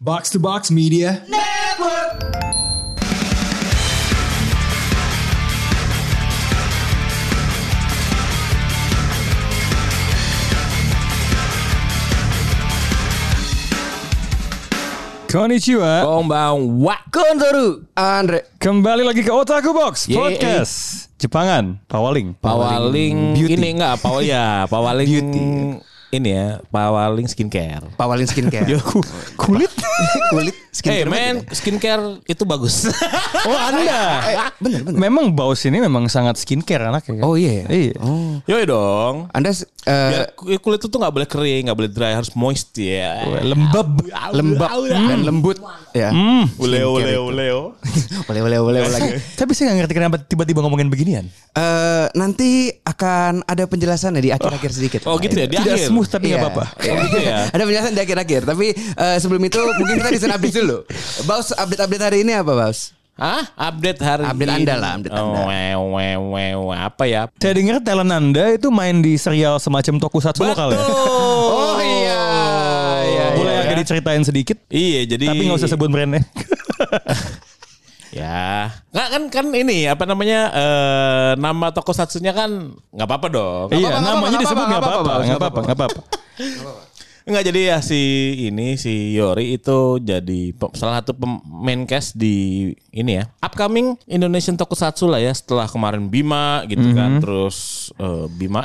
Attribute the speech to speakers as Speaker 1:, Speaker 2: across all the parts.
Speaker 1: Box to Box Media. Konnichiwa.
Speaker 2: Konbanwa
Speaker 3: Kontoru Andre
Speaker 1: Kembali lagi ke Otaku Box
Speaker 2: Yeay.
Speaker 1: Podcast Jepangan Pawaling
Speaker 2: Pawaling ini enggak Pawaling ya Pawaling ini ya Pawaling skincare
Speaker 3: Pawalin skincare
Speaker 2: Ya ku-
Speaker 1: Kulit
Speaker 3: Kulit
Speaker 2: Hey
Speaker 3: skincare gitu.
Speaker 2: man skincare itu bagus
Speaker 1: Oh anda
Speaker 3: Eh, Bener bener
Speaker 1: Memang Baus ini memang sangat skincare anaknya kan?
Speaker 3: Oh iya ya?
Speaker 1: Iya
Speaker 3: Oh
Speaker 2: Yoi dong
Speaker 3: Anda eh,
Speaker 2: Biar ku- kulit itu tuh gak boleh kering Gak boleh dry Harus moist ya
Speaker 3: Oh,
Speaker 1: Lembab
Speaker 3: lembab dan lembut ya.
Speaker 2: Hmm. Uleo uleo uleo
Speaker 3: Boleh boleh boleh boleh lagi.
Speaker 1: Tapi saya gak ngerti kenapa tiba-tiba ngomongin beginian
Speaker 3: Eh, nanti akan ada penjelasannya di akhir-akhir sedikit.
Speaker 2: Oh gitu ya di
Speaker 1: Tidak
Speaker 2: akhir
Speaker 1: smooth tapi
Speaker 3: Iya.
Speaker 1: nggak apa-apa
Speaker 3: Iya.
Speaker 2: Oh, gitu ya?
Speaker 3: Ada penjelasan di akhir-akhir, tapi eh, sebelum itu mungkin kita disuruh update dulu. Baus, update-update hari ini apa, Baus?
Speaker 2: Hah? Update hari
Speaker 3: Update
Speaker 2: ini.
Speaker 3: Anda lah, update Anda.
Speaker 2: oh, wew, wew, wew. Apa ya
Speaker 1: Saya dengar talent anda itu main di serial semacam tokusatsu lokal ya
Speaker 3: Oh, iya. Iya,
Speaker 1: Boleh
Speaker 2: iya.
Speaker 1: agak diceritain sedikit
Speaker 2: Iya jadi
Speaker 1: Tapi nggak usah sebut brandnya
Speaker 2: Ya, nggak kan kan ini apa namanya eh nama toko satsunya kan nggak apa-apa dong.
Speaker 1: Iya
Speaker 3: apa-apa,
Speaker 1: namanya
Speaker 3: nggak
Speaker 1: disebut nggak
Speaker 3: apa-apa, nggak
Speaker 1: apa-apa
Speaker 3: apa-apa,
Speaker 1: Nggak apa-apa nggak apa-apa
Speaker 2: Nggak jadi ya si ini si Yori itu jadi pe- salah satu pemain cast di ini ya upcoming Indonesian Tokusatsu lah ya setelah kemarin Bima gitu kan
Speaker 1: Mhm.
Speaker 2: terus eh, Bima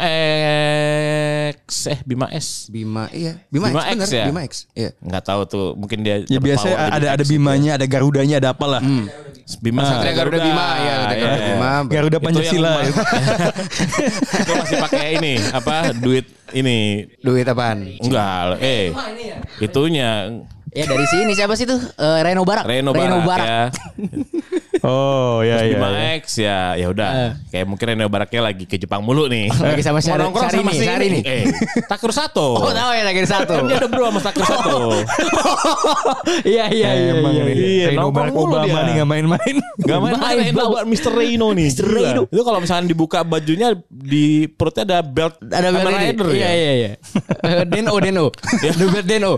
Speaker 2: X eh Bima S
Speaker 3: Bima, iya. Bima,
Speaker 2: Bima
Speaker 3: X,
Speaker 2: X,
Speaker 3: bener.
Speaker 2: ya?
Speaker 3: Bima X, iya.
Speaker 2: nggak tahu tuh mungkin dia
Speaker 1: Ya
Speaker 2: dapat
Speaker 1: biasanya
Speaker 2: power
Speaker 1: ada
Speaker 2: jadi
Speaker 1: ada
Speaker 2: X.
Speaker 1: bimanya, ada garudanya, ada apalah.
Speaker 2: Bima
Speaker 3: Satria Garuda Bima, ya, Satria
Speaker 2: iya.
Speaker 3: Garuda Bima.
Speaker 1: Garuda
Speaker 2: Itu yang
Speaker 1: Pancasila. gitu.
Speaker 2: kemarin- Itu masih pakai ini apa duit ini
Speaker 3: Duit apaan?
Speaker 2: Enggak, eh. Itunya
Speaker 4: Ya dari sini siapa sih tuh? Eh, Reno Barak. Iya,
Speaker 2: Reno Barak, ya.
Speaker 1: Oh ya ya.
Speaker 2: Bima
Speaker 1: ya.
Speaker 2: X ya, ya udah. Kayak mungkin Reno Baraknya lagi ke Jepang mulu nih.
Speaker 4: Eh. Lagi sama
Speaker 2: Mau
Speaker 4: Syar-
Speaker 2: nongkrong sama
Speaker 4: Syahrini,
Speaker 2: si
Speaker 4: Syahrini.
Speaker 2: ini. Eh, Takur Sato.
Speaker 4: Oh tahu Oh. ya lagi di satu.
Speaker 2: Kan dia ada bro sama Takur Sato.
Speaker 4: Iya iya iya.
Speaker 1: Emang
Speaker 4: iya.
Speaker 2: iya.
Speaker 1: nih, Reno
Speaker 2: Nongkrong
Speaker 1: Barack
Speaker 2: mulu
Speaker 1: Obama
Speaker 2: dia.
Speaker 1: nih nggak main-main.
Speaker 2: Gak main main Reno Bar- Mr. Reno nih. Mr.
Speaker 4: Reno.
Speaker 2: Itu kalau misalnya dibuka bajunya di perutnya ada belt
Speaker 4: Ada
Speaker 2: Kamen
Speaker 4: Bel ini.
Speaker 2: Rider
Speaker 4: Iya
Speaker 2: ya.
Speaker 4: iya iya. Eh, Deno Deno. Dubet Deno.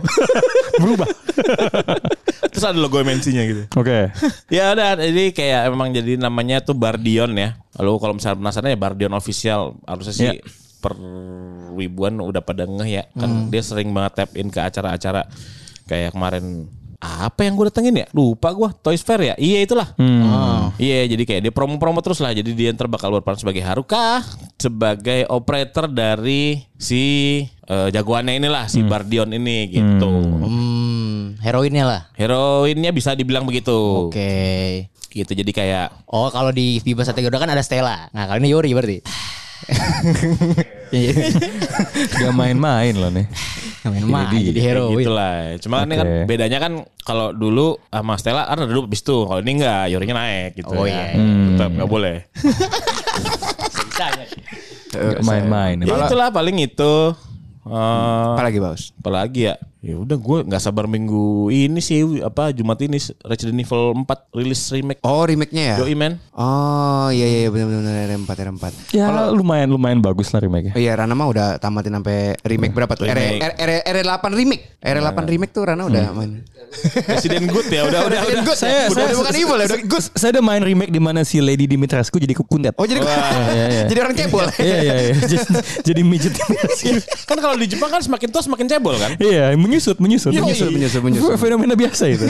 Speaker 1: Berubah.
Speaker 2: Terus ada logo MNC-nya gitu.
Speaker 1: Oke.
Speaker 2: Ya udah, jadi kayak emang jadi namanya tuh Bardion ya. Lalu kalau misalnya penasaran ya Bardion official harusnya sih
Speaker 1: Ya.
Speaker 2: per ribuan udah pada ngeh ya. Kan dia sering banget tap in ke acara-acara kayak kemarin apa yang gue datengin ya? Lupa gue Toys Fair ya. Iya itulah. Iya, jadi kayak dia promo-promo terus lah. Jadi dia ntar bakal berperan sebagai Haruka, sebagai operator dari si eh, jagoannya inilah si Bardion ini gitu.
Speaker 4: Hmm, heroinnya lah.
Speaker 2: Heroinnya bisa dibilang begitu.
Speaker 4: Oke.
Speaker 2: Gitu. Jadi kayak
Speaker 4: Oh kalau di Viva Satya Garuda kan ada Stella. Nah kalau ini Yori berarti. Iya.
Speaker 1: Gak main-main loh nih.
Speaker 4: Main mah
Speaker 1: Jadi-
Speaker 4: jadi
Speaker 2: Ya
Speaker 4: heroin.
Speaker 2: gitu lah. Cuma kan ini kan
Speaker 1: Oke.
Speaker 2: bedanya kan kalau dulu sama Stella kan ada dulu habis itu. Kalau ini enggak, Yorinya naik gitu.
Speaker 4: Oh,
Speaker 2: ya.
Speaker 4: iya.
Speaker 2: Tetap
Speaker 1: Hmm.
Speaker 2: enggak boleh.
Speaker 1: Ya
Speaker 3: eh,
Speaker 1: Gak main-main.
Speaker 2: ya itulah paling itu. Eh,
Speaker 3: Apa lagi, Baus?
Speaker 2: apalagi ya ya udah gue nggak sabar minggu ini sih apa Jumat ini Resident Evil 4 rilis remake
Speaker 3: Oh, remake-nya ya?
Speaker 2: Yoi man
Speaker 3: Oh, iya iya benar-benar R4 R4.
Speaker 1: Ya lumayan lumayan bagus lah remake-nya.
Speaker 3: Oh iya Rana mah udah tamatin sampai remake berapa tuh? R
Speaker 2: Remake. Iya.
Speaker 3: R R R8 remake. R8 remake tuh Rana udah main.
Speaker 2: Resident Good ya udah udah udah
Speaker 3: good.
Speaker 1: Saya-
Speaker 3: udah,
Speaker 1: saya-
Speaker 3: udah bukan evil ya, udah good.
Speaker 1: Saya udah main remake di mana si Lady Dimitrescu jadi kukundet.
Speaker 3: Oh jadi
Speaker 1: iya, iya.
Speaker 3: jadi orang cebol.
Speaker 1: Iya iya iya. Jadi, jadi midget Dimitrescu.
Speaker 2: kan kalau di Jepang kan semakin tua semakin cebol kan
Speaker 1: Iya, menyusut, menyusut, Iya,
Speaker 3: Menyusul, menyusul, menyusul.
Speaker 1: Fenomena biasa itu.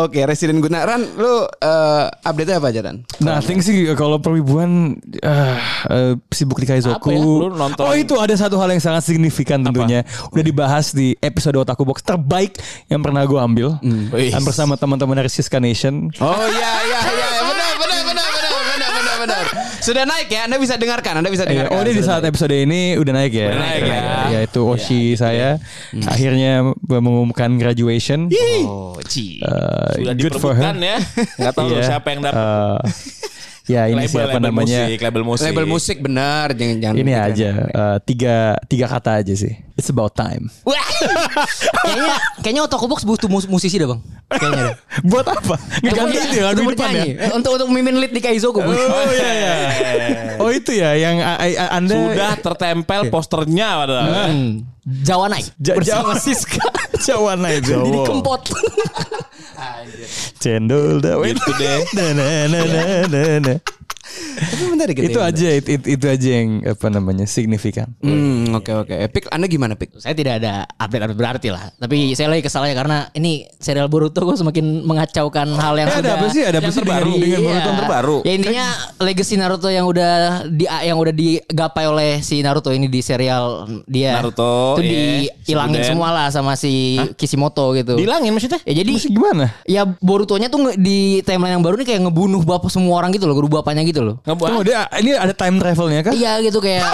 Speaker 3: Oke, Resident Good. Nah, Ran, lu eh, update apa aja Ran?
Speaker 1: Nothing sih kalau perwibuan eh, eh, sibuk di Kaizoku.
Speaker 2: Apa ya? Lu nonton- Hmm.
Speaker 1: Oh itu ada satu hal yang sangat signifikan tentunya. Udah dibahas di episode Otaku Box terbaik yang pernah gue ambil.
Speaker 2: Hmm. Wih.
Speaker 1: Dan bersama teman-teman dari Siska Nation.
Speaker 3: Oh iya iya iya benar benar benar benar benar benar benar. Sudah naik ya, Anda bisa dengarkan, Anda bisa
Speaker 1: Iya,
Speaker 3: dengarkan.
Speaker 1: oh ini di
Speaker 3: Sudah
Speaker 1: saat episode ini udah naik ya.
Speaker 2: kan? Udah naik ya. iya. Hmm.
Speaker 1: Ya itu Oshi saya akhirnya mengumumkan graduation.
Speaker 3: naik. Oh, ci.
Speaker 1: Eh,
Speaker 2: sudah
Speaker 1: good for her.
Speaker 2: diperebutkan ya nggak tahu
Speaker 1: Iya.
Speaker 2: siapa yang dapat
Speaker 1: Eh, ya ini siapa namanya?
Speaker 2: musik, Iya. label musik
Speaker 3: Label musik benar, jangan jangan. gitu kan.
Speaker 1: Ini
Speaker 3: pikiran.
Speaker 1: aja eh, tiga tiga kata aja sih. It's about time.
Speaker 4: Wah. kayaknya kayaknya Otaku Box butuh mus- musisi dah bang. kayaknya deh.
Speaker 1: Buat apa? Ngeganti
Speaker 4: Untuk-
Speaker 1: dia lagu
Speaker 4: untuk
Speaker 1: depan ya?
Speaker 4: bernyanyi. Eh, Untuk untuk memimpin lead di Kaizoku. Bu.
Speaker 1: Oh iya iya. Oh itu ya yang a- a- Anda
Speaker 2: Sudah tertempel posternya padahal.
Speaker 4: Hmm. Jawa naik
Speaker 1: Ja-
Speaker 4: bersama
Speaker 1: Jawa.
Speaker 4: Siska.
Speaker 1: Jawa naik
Speaker 4: Jadi
Speaker 1: Jawa.
Speaker 4: kempot.
Speaker 1: Cendol dawet.
Speaker 2: Gitu deh.
Speaker 1: Na, na, na, na, na, na.
Speaker 4: Tapi bentar gitu.
Speaker 1: Itu
Speaker 4: ya, bentar.
Speaker 1: aja it- it- itu aja yang apa namanya signifikan.
Speaker 3: Hmm, oke oke. Epic, Anda gimana Pik?
Speaker 4: Saya tidak ada update-update berarti lah. Tapi saya lagi kesal ya karena ini serial Boruto gue semakin mengacaukan hal yang
Speaker 1: Eh, ada
Speaker 4: sudah
Speaker 1: apa sih? Ada apa
Speaker 4: yang
Speaker 1: sih dengan-
Speaker 4: terbaru?
Speaker 1: dengan
Speaker 4: Iya.
Speaker 1: Boruto yang terbaru?
Speaker 4: Ya intinya legacy Naruto yang udah di yang udah digapai oleh si Naruto ini di serial dia.
Speaker 2: Naruto,
Speaker 4: itu
Speaker 2: iya.
Speaker 4: dihilangin
Speaker 2: Shippuden.
Speaker 4: semua lah sama si Kishimoto gitu.
Speaker 2: Dilangin maksudnya?
Speaker 4: Ya jadi
Speaker 1: Maksudnya gimana?
Speaker 4: ya Borutonya tuh nge- di timeline yang baru nih kayak ngebunuh bapak semua orang gitu loh, guru bapaknya gitu loh.
Speaker 1: Tunggu,
Speaker 2: Ngebuat.
Speaker 1: Oh, dia ini ada time travelnya kan?
Speaker 4: Iya gitu kayak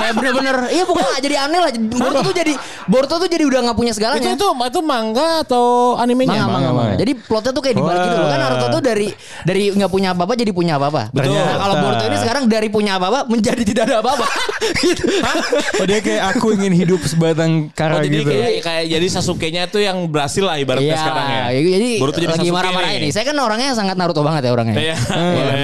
Speaker 4: kayak bener-bener iya pokoknya jadi aneh lah Boruto tuh jadi Boruto tuh jadi udah nggak punya
Speaker 2: Itu
Speaker 4: segalanya.
Speaker 2: itu itu mangga atau animenya?
Speaker 4: Manga, manga, manga.
Speaker 1: manga.
Speaker 4: Jadi plotnya tuh kayak dibalik
Speaker 1: Wah.
Speaker 4: gitu loh. Kan Naruto tuh dari dari nggak punya apa-apa jadi punya apa-apa.
Speaker 1: Betul.
Speaker 4: Nah, kalau Boruto ini sekarang dari punya apa-apa menjadi tidak ada apa-apa. gitu.
Speaker 1: Oh, dia kayak aku ingin hidup sebatang
Speaker 2: Oh,
Speaker 1: kara
Speaker 2: jadi
Speaker 1: gitu.
Speaker 2: kayak, kayak jadi Sasuke-nya tuh yang berhasil lah ibaratnya
Speaker 4: Iya,
Speaker 2: sekarang ya.
Speaker 4: jadi
Speaker 2: Baru tuh jadi
Speaker 4: lagi
Speaker 2: Sasuke
Speaker 4: marah-marah
Speaker 2: nih.
Speaker 4: ini. Saya kan orangnya sangat Naruto banget ya orangnya.
Speaker 2: Iya, boleh.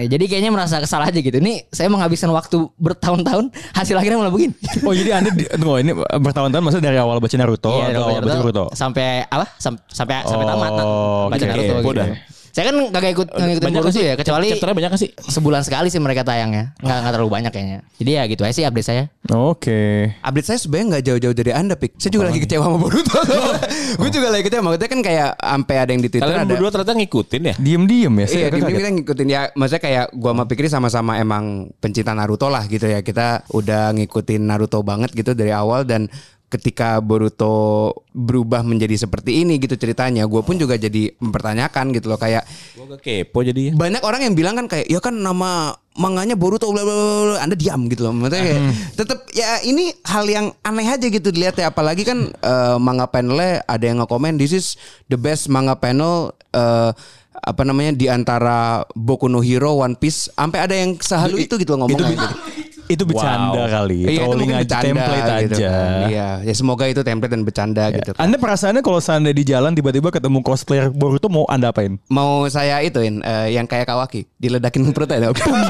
Speaker 4: Eh, jadi kayaknya merasa kesal aja gitu. Ini saya menghabiskan waktu bertahun-tahun, hasil akhirnya malah begini.
Speaker 1: Oh jadi anda di, tunggu ini bertahun-tahun maksudnya dari awal baca Naruto
Speaker 4: Iya,
Speaker 1: atau awal
Speaker 4: Naruto.
Speaker 1: baca Naruto?
Speaker 4: Sampai apa? Sam- sampai sampai tamat. nah,
Speaker 1: Oh,
Speaker 4: baca
Speaker 1: oke.
Speaker 4: Naruto
Speaker 2: Oke,
Speaker 4: gitu.
Speaker 2: udah.
Speaker 4: Saya kan kagak ikut ngikutin
Speaker 2: Banyak
Speaker 4: Boruto
Speaker 2: sih
Speaker 4: ya, kecuali
Speaker 2: chapternya banyak nggak sih?
Speaker 4: sebulan sekali sih mereka tayangnya. Nggak, nggak terlalu banyak kayaknya. Jadi ya gitu aja sih update saya.
Speaker 1: Oke.
Speaker 3: Update saya sebenarnya nggak jauh-jauh dari Anda Pik. Saya juga lagi kecewa sama Boruto. Gue juga lagi kecewa. Maksudnya kan kayak sampai ada yang di Twitter
Speaker 2: Kalian
Speaker 3: ada.
Speaker 2: berdua ternyata ngikutin ya?
Speaker 1: Diem-diem ya.
Speaker 3: Iya,
Speaker 1: Saya
Speaker 3: tim
Speaker 1: kaget.
Speaker 3: kita ngikutin ya. Maksudnya kayak gua sama Pikri sama-sama emang pencinta Naruto lah gitu ya. Kita udah ngikutin Naruto banget gitu dari awal dan ketika Boruto berubah menjadi seperti ini gitu ceritanya, gua pun juga jadi mempertanyakan gitu loh kayak
Speaker 2: Gue kepo jadi ya.
Speaker 3: banyak orang yang bilang kan kayak ya kan nama manganya Boruto bla bla bla, bla." Anda diam gitu loh. Maksudnya kayak,
Speaker 1: Hmm.
Speaker 3: tetap ya ini hal yang aneh aja gitu dilihat ya apalagi kan eh, manga panelnya ada yang ngekomen this is the best manga panel eh, apa namanya di antara Boku no Hero One Piece sampai ada yang sehalu itu gitu loh
Speaker 1: Itu,
Speaker 3: ngomongnya.
Speaker 1: bi- itu bercanda
Speaker 2: Wow.
Speaker 1: kali.
Speaker 3: Iya, itu
Speaker 1: Trolling
Speaker 3: mungkin
Speaker 1: aja,
Speaker 3: bercanda
Speaker 1: template
Speaker 3: gitu
Speaker 1: aja. Ya.
Speaker 3: kan. Iya, ya semoga itu template dan bercanda gitu. kan.
Speaker 1: Anda perasaannya kalau seandainya di jalan tiba-tiba ketemu cosplayer Boruto mau Anda apain?
Speaker 3: Mau saya ituin eh, yang kayak Kawaki, diledakin perutnya. dong. Bum.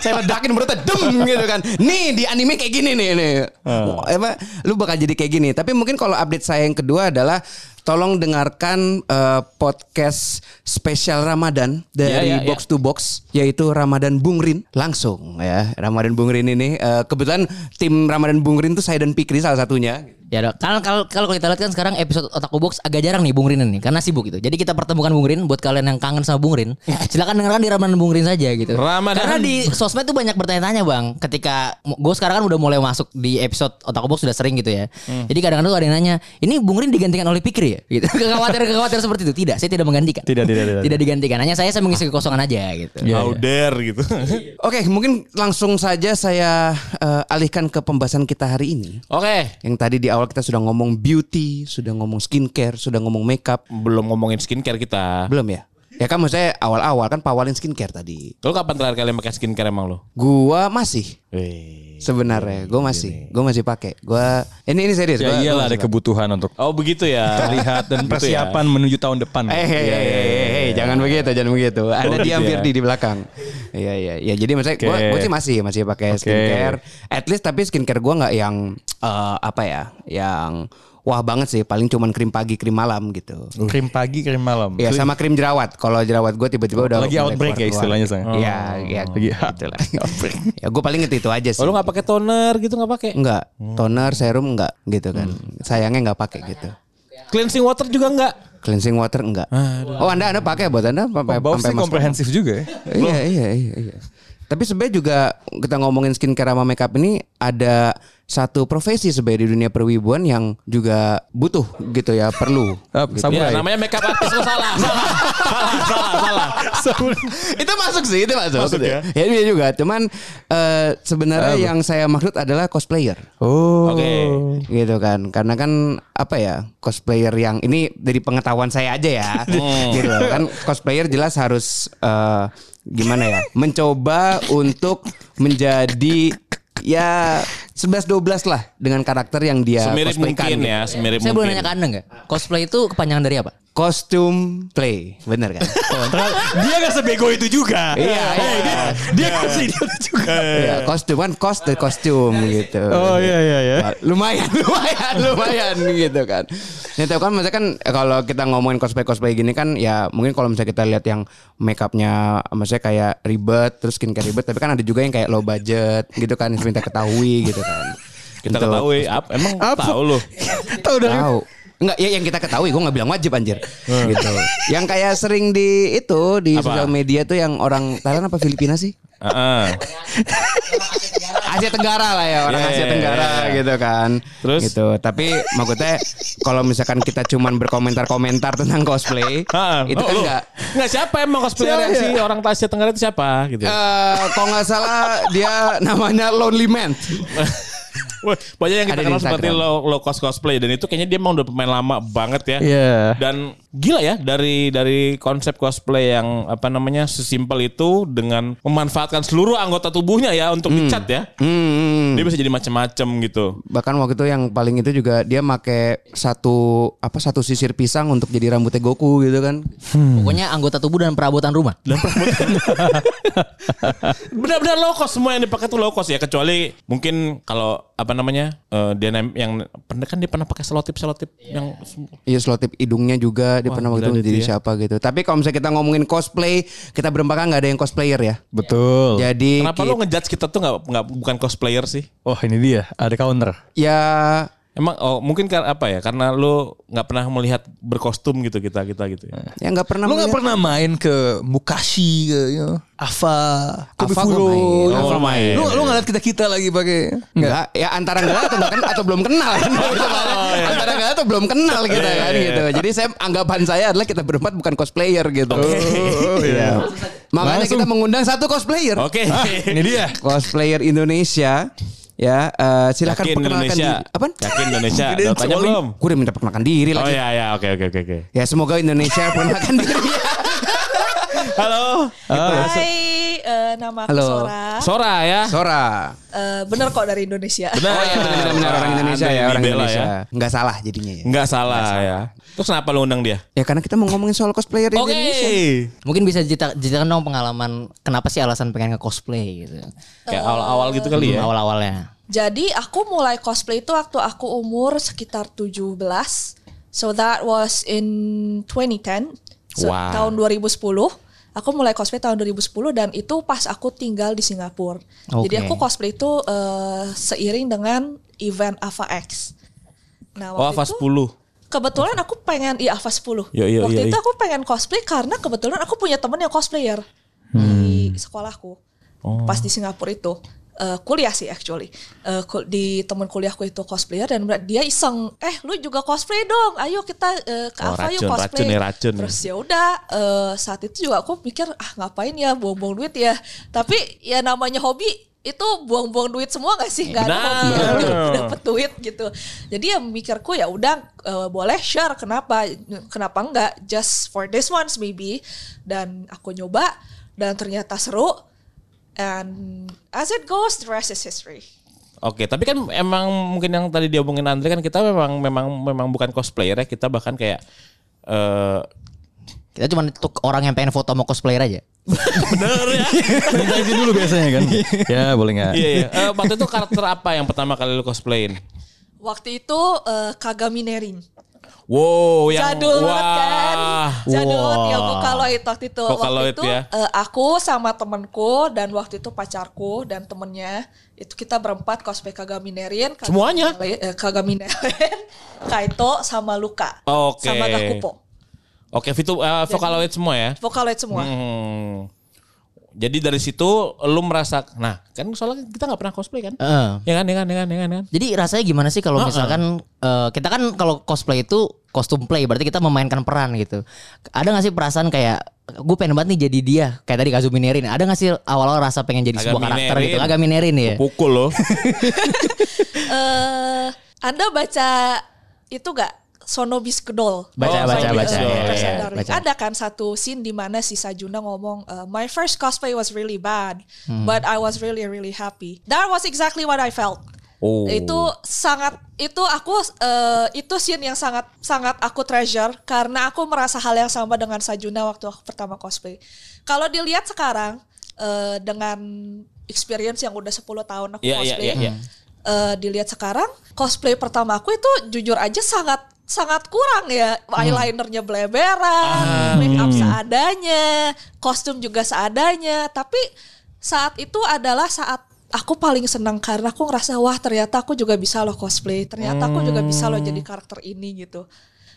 Speaker 3: saya ledakin perutnya dem gitu kan. Nih di anime kayak gini nih nih. Wah, Emang lu bakal jadi kayak gini. Tapi mungkin kalau update saya yang kedua adalah tolong dengarkan eh, podcast spesial Ramadan dari
Speaker 2: Iya, iya, iya.
Speaker 3: Box to Box yaitu Ramadan Bung Rin langsung ya. Ramadan Bung Rin ini eh, kebetulan tim Ramadan Bung Rin tuh saya dan Pikri salah satunya.
Speaker 4: Ya dok. Kalau kalau kalau kita lihat kan sekarang episode Otaku Box agak jarang nih Bung Rin nih karena sibuk gitu. Jadi kita pertemukan Bung Rin buat kalian yang kangen sama Bung Rin, silakan dengarkan di Ramadan Bung Rin saja gitu.
Speaker 2: Ramadan.
Speaker 4: Karena di sosmed tuh banyak bertanya-tanya bang. Ketika gue sekarang kan udah mulai masuk di episode Otaku Box sudah sering gitu ya.
Speaker 1: Hmm.
Speaker 4: Jadi kadang-kadang tuh ada yang nanya, ini Bung Rin digantikan oleh Pikri ya? Gitu. Kekhawatiran kekhawatiran seperti itu tidak. Saya tidak menggantikan.
Speaker 1: Tidak, tidak, tidak.
Speaker 4: tidak digantikan. Hanya saya saya mengisi kekosongan aja gitu.
Speaker 1: Iya, iya.
Speaker 2: How dare gitu.
Speaker 3: Oke, mungkin langsung saja saya eh, alihkan ke pembahasan kita hari ini.
Speaker 2: Oke.
Speaker 3: Yang tadi di awal kita sudah ngomong beauty, sudah ngomong skincare, sudah ngomong makeup.
Speaker 2: Belum ngomongin skincare kita.
Speaker 3: Belum ya? Ya kan maksudnya awal-awal kan pawalin skincare tadi.
Speaker 2: Lo kapan terakhir kali pakai skincare emang lo?
Speaker 3: Gua masih
Speaker 2: Wih.
Speaker 3: sebenarnya, gua masih, gua masih pakai. Gua ini ini serius.
Speaker 1: Iya Ya
Speaker 3: gua-
Speaker 1: iyalah
Speaker 3: gua
Speaker 1: ada
Speaker 3: masih pakai.
Speaker 1: kebutuhan untuk
Speaker 2: Oh begitu ya.
Speaker 1: lihat dan
Speaker 2: Gitu ya.
Speaker 1: persiapan menuju tahun depan.
Speaker 3: Eh, eh, eh, eh, eh, eh, jangan
Speaker 1: Iya.
Speaker 3: begitu, jangan begitu.
Speaker 1: Oh,
Speaker 3: Ada
Speaker 2: gitu
Speaker 3: diam
Speaker 2: ya.
Speaker 3: Firdi di belakang. Iya, iya, iya. Jadi maksudnya gua,
Speaker 1: Oke.
Speaker 3: gua sih masih masih pakai skincare. At least tapi skincare gua nggak yang eh, apa ya, yang wah banget sih. Paling cuman krim pagi, krim malam gitu.
Speaker 1: Krim pagi, krim malam.
Speaker 3: Iya sama krim jerawat. Kalau jerawat gue tiba-tiba udah
Speaker 1: Lagi
Speaker 3: udah
Speaker 1: outbreak ya istilahnya,
Speaker 3: keluar-keluar.
Speaker 1: Sang. Oh.
Speaker 3: Iya, iya.
Speaker 1: Lagi
Speaker 3: gitu lah. ya gue paling itu itu aja sih.
Speaker 2: Oh, lo nggak pakai toner gitu nggak pakai?
Speaker 3: Enggak,
Speaker 1: Hmm.
Speaker 3: toner, serum enggak gitu kan. Sayangnya enggak pakai gitu.
Speaker 2: Cleansing water juga nggak?
Speaker 3: Cleansing water enggak. Oh, Anda Anda pakai buat Anda sampai
Speaker 1: Bau
Speaker 3: sampai
Speaker 1: sih
Speaker 3: masker.
Speaker 1: komprehensif juga ya.
Speaker 3: Iya, iya, iya, iya. Tapi sebenarnya juga kita ngomongin skincare sama makeup ini ada satu profesi sebenarnya di dunia perwibuan yang juga butuh gitu ya, perlu.
Speaker 1: Ah,
Speaker 2: Iya,
Speaker 1: samurai.
Speaker 2: namanya makeup artist kok salah. salah. Salah, salah, salah.
Speaker 3: itu masuk sih itu masuk, ya. ya iya juga cuman eh, sebenarnya yang saya maksud adalah cosplayer
Speaker 1: Oh.
Speaker 2: Oke. Hmm.
Speaker 3: gitu kan karena kan apa ya cosplayer yang ini dari pengetahuan saya aja ya gitu
Speaker 2: Hmm.
Speaker 3: loh. kan cosplayer jelas harus eh, gimana ya mencoba untuk menjadi ya 11-12 lah dengan karakter yang dia
Speaker 2: Semirip
Speaker 3: cosplaykan
Speaker 2: mungkin
Speaker 3: gitu.
Speaker 2: ya, semirip
Speaker 4: Saya boleh
Speaker 2: mungkin.
Speaker 4: nanya ke anda nggak? Cosplay itu kepanjangan dari apa?
Speaker 3: Costume play, bener kan?
Speaker 1: Ternyata- dia gak sebego itu juga.
Speaker 3: Iya,
Speaker 1: Eh,
Speaker 3: iya.
Speaker 1: dia dia gak seidiot juga.
Speaker 3: Iya, kostum kan cost dari kostum gitu.
Speaker 1: Oh,
Speaker 3: Nah,
Speaker 1: iya, iya, iya.
Speaker 3: Lumayan, lumayan, lumayan gitu kan. Ya tapi kan maksudnya kan eh, kalau kita ngomongin cosplay cosplay gini kan ya mungkin kalau misalnya kita lihat yang makeupnya maksudnya kayak ribet terus skincare ribet tapi kan ada juga yang kayak low budget gitu kan yang minta ketahui gitu kan.
Speaker 2: Kita
Speaker 3: Untuk-
Speaker 2: ketahui apa emang tahu lu.
Speaker 1: Tahu dari
Speaker 3: Tahu. Enggak, ya yang kita ketahui, gue nggak bilang wajib anjir.
Speaker 1: Hmm.
Speaker 3: gitu. Yang kayak sering di itu di
Speaker 2: Apa?
Speaker 3: sosial media tuh yang orang Thailand apa Filipina sih?
Speaker 2: Heeh.
Speaker 3: Asia Tenggara lah ya orang
Speaker 2: Iya,
Speaker 3: Asia
Speaker 2: iya,
Speaker 3: Tenggara
Speaker 2: iya, iya.
Speaker 3: gitu kan.
Speaker 2: Terus?
Speaker 3: gitu. Tapi maksudnya kalau misalkan kita cuman berkomentar-komentar tentang cosplay,
Speaker 2: Heeh.
Speaker 3: itu
Speaker 2: Oh,
Speaker 3: kan
Speaker 2: lu.
Speaker 3: enggak
Speaker 2: Enggak siapa emang cosplayer yang si orang Asia Tenggara itu siapa gitu.
Speaker 3: eh kalau nggak salah dia namanya Lonely Man.
Speaker 2: Wah, banyak yang kita
Speaker 3: Ada di
Speaker 2: kenal seperti
Speaker 3: Instagram.
Speaker 2: low, low cost cosplay dan itu kayaknya dia emang udah pemain lama banget ya.
Speaker 1: Iya.
Speaker 2: Dan gila ya dari dari konsep cosplay yang apa namanya sesimpel itu dengan memanfaatkan seluruh anggota tubuhnya ya untuk dicat ya.
Speaker 3: Hmm.
Speaker 2: Dia bisa jadi macam-macam gitu.
Speaker 3: Bahkan waktu itu yang paling itu juga dia make satu apa satu sisir pisang untuk jadi rambutnya Goku gitu kan.
Speaker 1: Hmm.
Speaker 4: Pokoknya anggota tubuh dan perabotan rumah.
Speaker 2: Benar-benar low cost semua yang dipakai tuh low cost ya kecuali mungkin kalau apa namanya eh, dia nem- yang pernah kan dia pernah pakai selotip selotip yang
Speaker 3: Iya selotip hidungnya juga dia pernah waktu
Speaker 2: gila
Speaker 3: itu
Speaker 2: dia
Speaker 3: jadi
Speaker 2: tuh ya.
Speaker 3: siapa gitu. Tapi kalau misalnya kita ngomongin cosplay, kita berempat kan nggak ada yang cosplayer ya.
Speaker 1: Betul.
Speaker 3: Jadi
Speaker 2: kenapa
Speaker 3: ki-
Speaker 2: lo ngejudge kita tuh nggak nggak bukan cosplayer sih?
Speaker 1: Oh ini dia ada counter.
Speaker 3: ya
Speaker 2: Emang oh, mungkin kan apa ya karena lo nggak pernah melihat berkostum gitu kita kita gitu ya.
Speaker 3: ya nggak pernah
Speaker 1: Lo nggak
Speaker 3: melihat.
Speaker 1: pernah main ke Mukashi ke you know, Ava, Kobe
Speaker 3: Ava
Speaker 1: Furo.
Speaker 3: gua main.
Speaker 1: you know.
Speaker 2: Oh, main.
Speaker 1: Lo lo nggak lihat kita kita lagi pakai.
Speaker 3: Enggak, ya antara enggak atau enggak kenal atau belum kenal. kan.
Speaker 2: Oh, iya.
Speaker 3: antara enggak atau belum kenal kita kan gitu. Jadi saya anggapan saya adalah kita berempat bukan cosplayer gitu. Iya. Makanya kita mengundang satu cosplayer.
Speaker 2: Oh, Oke.
Speaker 1: Ini dia.
Speaker 3: Cosplayer Indonesia ya eh, silakan
Speaker 2: Yakin
Speaker 3: perkenalkan
Speaker 2: Indonesia.
Speaker 3: diri. Apa?
Speaker 2: Yakin Indonesia.
Speaker 1: Yakin
Speaker 2: Udah tanya
Speaker 1: Indonesia.
Speaker 2: belum?
Speaker 3: Gue udah minta perkenalkan diri
Speaker 2: Oh
Speaker 3: lagi.
Speaker 2: ya ya oke oke oke oke.
Speaker 3: Ya semoga Indonesia perkenalkan diri.
Speaker 2: Halo.
Speaker 5: Hai, eh, nama aku
Speaker 3: Halo.
Speaker 5: Sora.
Speaker 2: Sora ya.
Speaker 3: Sora.
Speaker 5: Eh, bener kok dari Indonesia.
Speaker 2: Benar.
Speaker 3: Oh iya benar-benar orang Indonesia
Speaker 2: Andre
Speaker 3: ya orang
Speaker 2: Dibela
Speaker 3: Indonesia. Nggak salah jadinya ya.
Speaker 2: Nggak salah ya. Terus kenapa lo undang dia?
Speaker 3: Ya karena kita mau ngomongin soal cosplayer di
Speaker 2: Oke.
Speaker 3: Indonesia.
Speaker 4: Mungkin bisa cerita- ceritakan dong pengalaman kenapa sih alasan pengen nge-cosplay gitu.
Speaker 2: Kayak awal-awal gitu kali ya.
Speaker 4: Hmm, Awal-awalnya.
Speaker 5: Jadi aku mulai cosplay itu waktu aku umur sekitar 17. So that was in 2010. So,
Speaker 2: Wow.
Speaker 5: Tahun 2010. Aku mulai cosplay tahun 2010 dan itu pas aku tinggal di Singapura. Jadi
Speaker 4: Oke.
Speaker 5: aku cosplay itu eh, seiring dengan event Ava X. Nah,
Speaker 2: Oh,
Speaker 5: waktu
Speaker 2: Ava
Speaker 5: itu-
Speaker 2: 10.
Speaker 5: Kebetulan aku pengen iya Ava 10.
Speaker 2: Yo, yo,
Speaker 5: Waktu
Speaker 2: yo,
Speaker 5: itu
Speaker 2: yo.
Speaker 5: aku pengen cosplay karena kebetulan aku punya temen yang cosplayer
Speaker 2: Hmm.
Speaker 5: di sekolahku.
Speaker 2: Oh.
Speaker 5: Pas di Singapura itu. Eh, kuliah sih actually. Eh, kul- di temen kuliahku itu cosplayer dan ber- dia iseng, "Eh, lu juga cosplay dong. Ayo kita eh, ke
Speaker 2: Oh,
Speaker 5: Ava yuk
Speaker 2: racun,
Speaker 5: cosplay."
Speaker 2: racun ya, racun.
Speaker 5: Terus ya udah eh, saat itu juga aku mikir, "Ah, ngapain ya buang-buang duit ya?" Tapi ya namanya hobi itu buang-buang duit semua gak sih? Gak ada hobi yang
Speaker 2: Benar.
Speaker 5: udah- udah dapat duit gitu. Jadi ya mikirku ya udah eh, boleh share kenapa kenapa enggak just for this once maybe dan aku nyoba dan ternyata seru and as it goes the rest is history.
Speaker 2: Oke, tapi kan emang mungkin yang tadi dia omongin Andre kan kita memang memang memang bukan cosplayer ya, kita bahkan kayak eh
Speaker 4: Kita cuma untuk orang yang pengen foto sama cosplayer aja.
Speaker 2: bener ya.
Speaker 1: Minta izin dulu biasanya kan. ya boleh nggak?
Speaker 2: Iya, iya. Eh, waktu itu karakter apa yang pertama kali lu cosplayin?
Speaker 5: Waktu itu eh, Kagami Nerin.
Speaker 2: Wow, yang
Speaker 5: Jadul banget kan. Jadul
Speaker 1: Wah.
Speaker 5: banget ya Vocaloid waktu itu.
Speaker 2: Vocaloid
Speaker 5: waktu itu
Speaker 2: ya.
Speaker 5: eh, aku sama temanku dan waktu itu pacarku dan temennya itu kita berempat cosplay Kagami Nerin. Kagami
Speaker 2: Semuanya?
Speaker 5: Nere- eh, Kagami Nerin, Kaito sama Luka.
Speaker 2: Oke.
Speaker 5: Sama Gakupo.
Speaker 2: Oke, itu eh, Vocaloid semua ya.
Speaker 5: Vocaloid semua.
Speaker 2: Hmm. Jadi dari situ lu merasa nah, kan soalnya kita nggak pernah cosplay kan?
Speaker 4: Heeh.
Speaker 2: Ya kan, ya kan, ya kan, ya kan. ya kan?
Speaker 4: Jadi rasanya gimana sih kalau misalkan eh, kita kan kalau cosplay itu kostum play berarti kita memainkan peran gitu. Ada gak sih perasaan kayak gue pengen banget nih jadi dia kayak tadi Kazumi Nerin. Ada gak sih awal-awal rasa pengen jadi sebuah
Speaker 2: Kagami
Speaker 4: karakter gitu?
Speaker 2: Nerin.
Speaker 4: Agak Minerin ya.
Speaker 2: Pukul lo.
Speaker 5: eh Anda baca itu gak? Sonobis Kedol.
Speaker 4: Baca,
Speaker 2: Oh,
Speaker 4: baca,
Speaker 2: Sonobis
Speaker 4: baca.
Speaker 2: Kedol,
Speaker 4: Iya,
Speaker 2: iya,
Speaker 4: iya, baca.
Speaker 5: Ada kan satu scene di mana si Sajuna ngomong, eh, My
Speaker 4: Hmm.
Speaker 5: first cosplay was really bad, but I was really really happy. That was exactly what I felt.
Speaker 2: Oh.
Speaker 5: Itu sangat itu aku eh, itu scene yang sangat sangat aku treasure karena aku merasa hal yang sama dengan Sajuna waktu aku pertama cosplay. Kalau dilihat sekarang eh, dengan experience yang udah 10 tahun aku
Speaker 2: Iya, iya,
Speaker 5: cosplay.
Speaker 2: iya, iya.
Speaker 5: eh, dilihat sekarang cosplay pertama aku itu jujur aja sangat sangat kurang ya
Speaker 2: Hmm.
Speaker 5: eyelinernya
Speaker 2: Ah.
Speaker 5: beleberan, make up seadanya, kostum juga seadanya. Tapi saat itu adalah saat aku paling senang karena aku ngerasa wah ternyata aku juga bisa loh cosplay, ternyata aku juga bisa loh
Speaker 2: Hmm.
Speaker 5: jadi karakter ini gitu.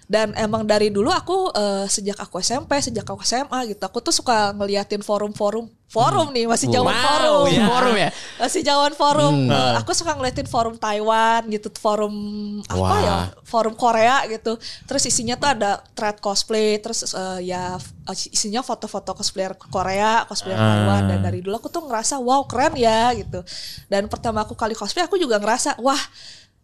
Speaker 5: Dan emang dari dulu aku eh, sejak aku SMP, sejak aku SMA gitu, aku tuh suka ngeliatin forum-forum, forum nih masih jauh
Speaker 2: Wow,
Speaker 5: forum,
Speaker 2: ya.
Speaker 4: Forum ya? Hmm.
Speaker 5: masih jauhan forum. Eh, aku suka ngeliatin forum Taiwan gitu, forum apa
Speaker 2: Wah.
Speaker 5: ya, forum Korea gitu. Terus isinya tuh ada thread cosplay, terus eh, ya f- isinya foto-foto cosplayer Korea, cosplayer
Speaker 4: Ah.
Speaker 5: Taiwan. Dan dari dulu aku tuh ngerasa wow keren ya gitu. Dan pertama aku kali cosplay aku juga ngerasa wah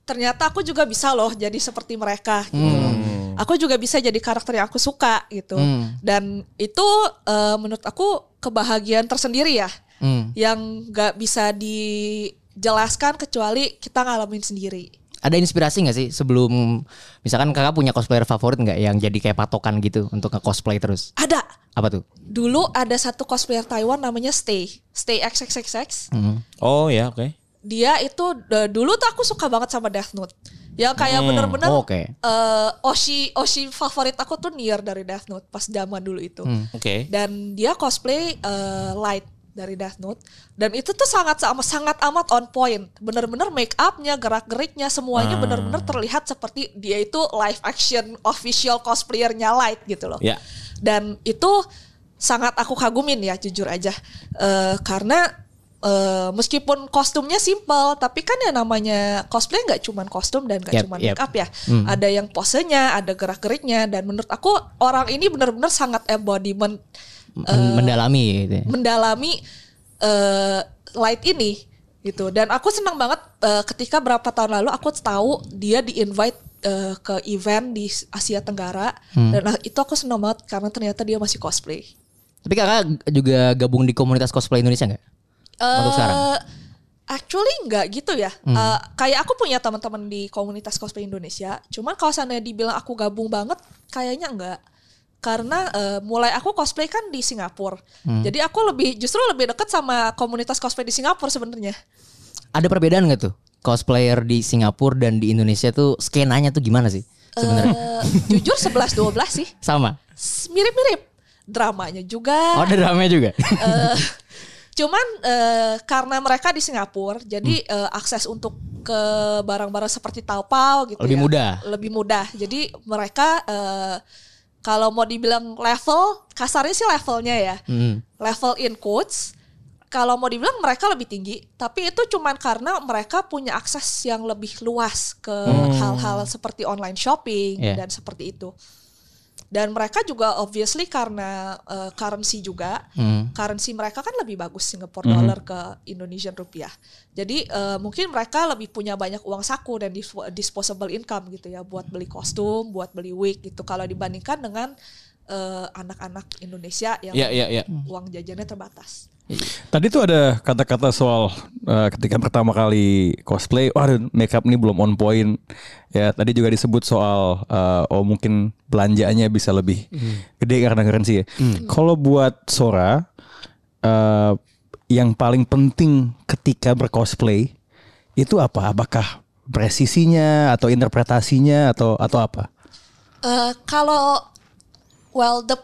Speaker 5: ternyata aku juga bisa loh jadi seperti mereka gitu. loh.
Speaker 4: Hmm.
Speaker 5: Aku juga bisa jadi karakter yang aku suka gitu. Dan itu eh, menurut aku kebahagiaan tersendiri ya
Speaker 4: Hmm.
Speaker 5: yang nggak bisa dijelaskan kecuali kita ngalamin sendiri.
Speaker 4: Ada inspirasi nggak sih sebelum misalkan kakak punya cosplayer favorit nggak yang jadi kayak patokan gitu untuk nge cosplay terus?
Speaker 5: Ada
Speaker 4: Apa tuh?
Speaker 5: dulu ada satu cosplayer Taiwan namanya Stay, Stay XXXX.
Speaker 4: Hmm.
Speaker 2: Oh ya, oke.
Speaker 5: Dia itu d- dulu tuh aku suka banget sama Death Note. Yang kayak bener-bener
Speaker 4: Oh, oke.
Speaker 5: eh, Oshi Oshi favorit aku tuh Nier dari Death Note pas zaman dulu itu.
Speaker 4: Hmm.
Speaker 2: Oke.
Speaker 5: Dan dia cosplay eh, Light dari Death Note dan itu tuh sangat sama sangat amat on point. Bener-bener make upnya, gerak geriknya semuanya bener-bener terlihat seperti dia itu live action official cosplayernya Light gitu loh.
Speaker 2: Ya.
Speaker 5: Dan itu sangat aku kagumin ya jujur aja Eh, karena eh, meskipun kostumnya simple tapi kan ya namanya cosplay nggak cuman kostum dan nggak
Speaker 4: Yap,
Speaker 5: cuman
Speaker 4: yap. Hmm.
Speaker 5: make up ya ada yang posenya ada gerak geriknya dan menurut aku orang ini benar-benar sangat embodiment
Speaker 4: Men- mendalami gitu. ya.
Speaker 5: mendalami eh, light ini gitu dan aku senang banget eh, ketika berapa tahun lalu aku tahu dia di invite ke event di Asia Tenggara dan ah, itu aku senang banget karena ternyata dia masih cosplay.
Speaker 4: Tapi kakak juga gabung di komunitas cosplay Indonesia nggak? Untuk
Speaker 5: Eh,
Speaker 4: sekarang? Hmm.
Speaker 5: Actually nggak gitu ya. Eh, kayak aku punya teman-teman di komunitas cosplay Indonesia. Cuman kalau seandainya dibilang aku gabung banget, kayaknya nggak. Karena eh, mulai aku cosplay kan di Singapura.
Speaker 4: Hmm.
Speaker 5: Jadi aku lebih justru lebih dekat sama komunitas cosplay di Singapura sebenarnya.
Speaker 4: Ada perbedaan nggak tuh cosplayer di Singapura dan di Indonesia tuh skenanya tuh gimana sih sebenarnya?
Speaker 5: Eh, jujur 11 12 sih.
Speaker 4: Sama.
Speaker 5: S- Mirip-mirip. Dramanya juga.
Speaker 4: Oh, ada drama juga.
Speaker 5: Eh, cuman eh, karena mereka di Singapura, jadi
Speaker 4: Hmm.
Speaker 5: eh, akses untuk ke barang-barang seperti Taobao gitu
Speaker 4: Lebih
Speaker 5: ya,
Speaker 4: mudah.
Speaker 5: lebih mudah. Jadi mereka eh, kalau mau dibilang level, kasarnya sih levelnya ya,
Speaker 4: Hmm.
Speaker 5: level in quotes. Kalau mau dibilang mereka lebih tinggi, tapi itu cuman karena mereka punya akses yang lebih luas ke
Speaker 4: Hmm.
Speaker 5: hal-hal seperti online shopping
Speaker 4: Iya.
Speaker 5: dan seperti itu. Dan mereka juga obviously karena eh, currency juga,
Speaker 4: Hmm.
Speaker 5: currency mereka kan lebih bagus Singapore
Speaker 2: Hmm.
Speaker 5: dollar ke Indonesian rupiah. Jadi eh, mungkin mereka lebih punya banyak uang saku dan dis- disposable income gitu ya buat beli kostum, buat beli wig gitu. Kalau dibandingkan dengan eh, anak-anak Indonesia yang
Speaker 2: Ya, ya, ya.
Speaker 5: uang jajannya terbatas.
Speaker 1: Tadi tuh ada kata-kata soal eh, ketika pertama kali cosplay, wah makeup ini belum on point. Ya, tadi juga disebut soal eh, oh mungkin belanjaannya bisa lebih gede karena currency ya. Kalau buat Sora eh, yang paling penting ketika bercosplay itu apa? Apakah presisinya atau interpretasinya atau atau apa?
Speaker 5: Eh, kalau well the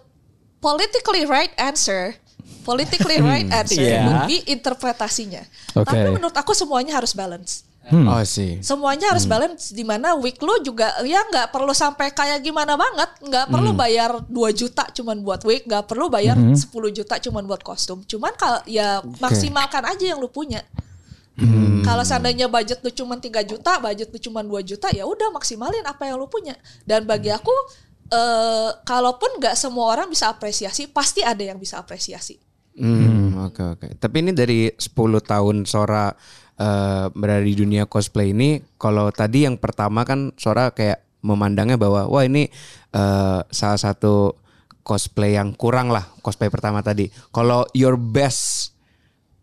Speaker 5: politically right answer, politically right answer
Speaker 2: Iya.
Speaker 5: would be interpretasinya.
Speaker 1: Oke.
Speaker 5: Tapi menurut aku semuanya harus balance.
Speaker 3: Oh sih.
Speaker 5: semuanya harus balance di mana week lu juga ya nggak perlu sampai kayak gimana banget nggak perlu bayar 2 juta cuman buat week nggak perlu bayar 10 juta cuman buat kostum cuman kalau ya maksimalkan aja yang lu punya Kalau seandainya budget lu cuman 3 juta, budget lu cuman 2 juta, ya udah maksimalin apa yang lu punya. Dan bagi aku eh kalaupun nggak semua orang bisa apresiasi, pasti ada yang bisa apresiasi.
Speaker 3: Hmm, oke oke. Tapi ini dari 10 tahun Sora eh, berada di dunia cosplay ini, kalau tadi yang pertama kan Sora kayak memandangnya bahwa wah ini eh, salah satu cosplay yang kurang lah cosplay pertama tadi. Kalau your best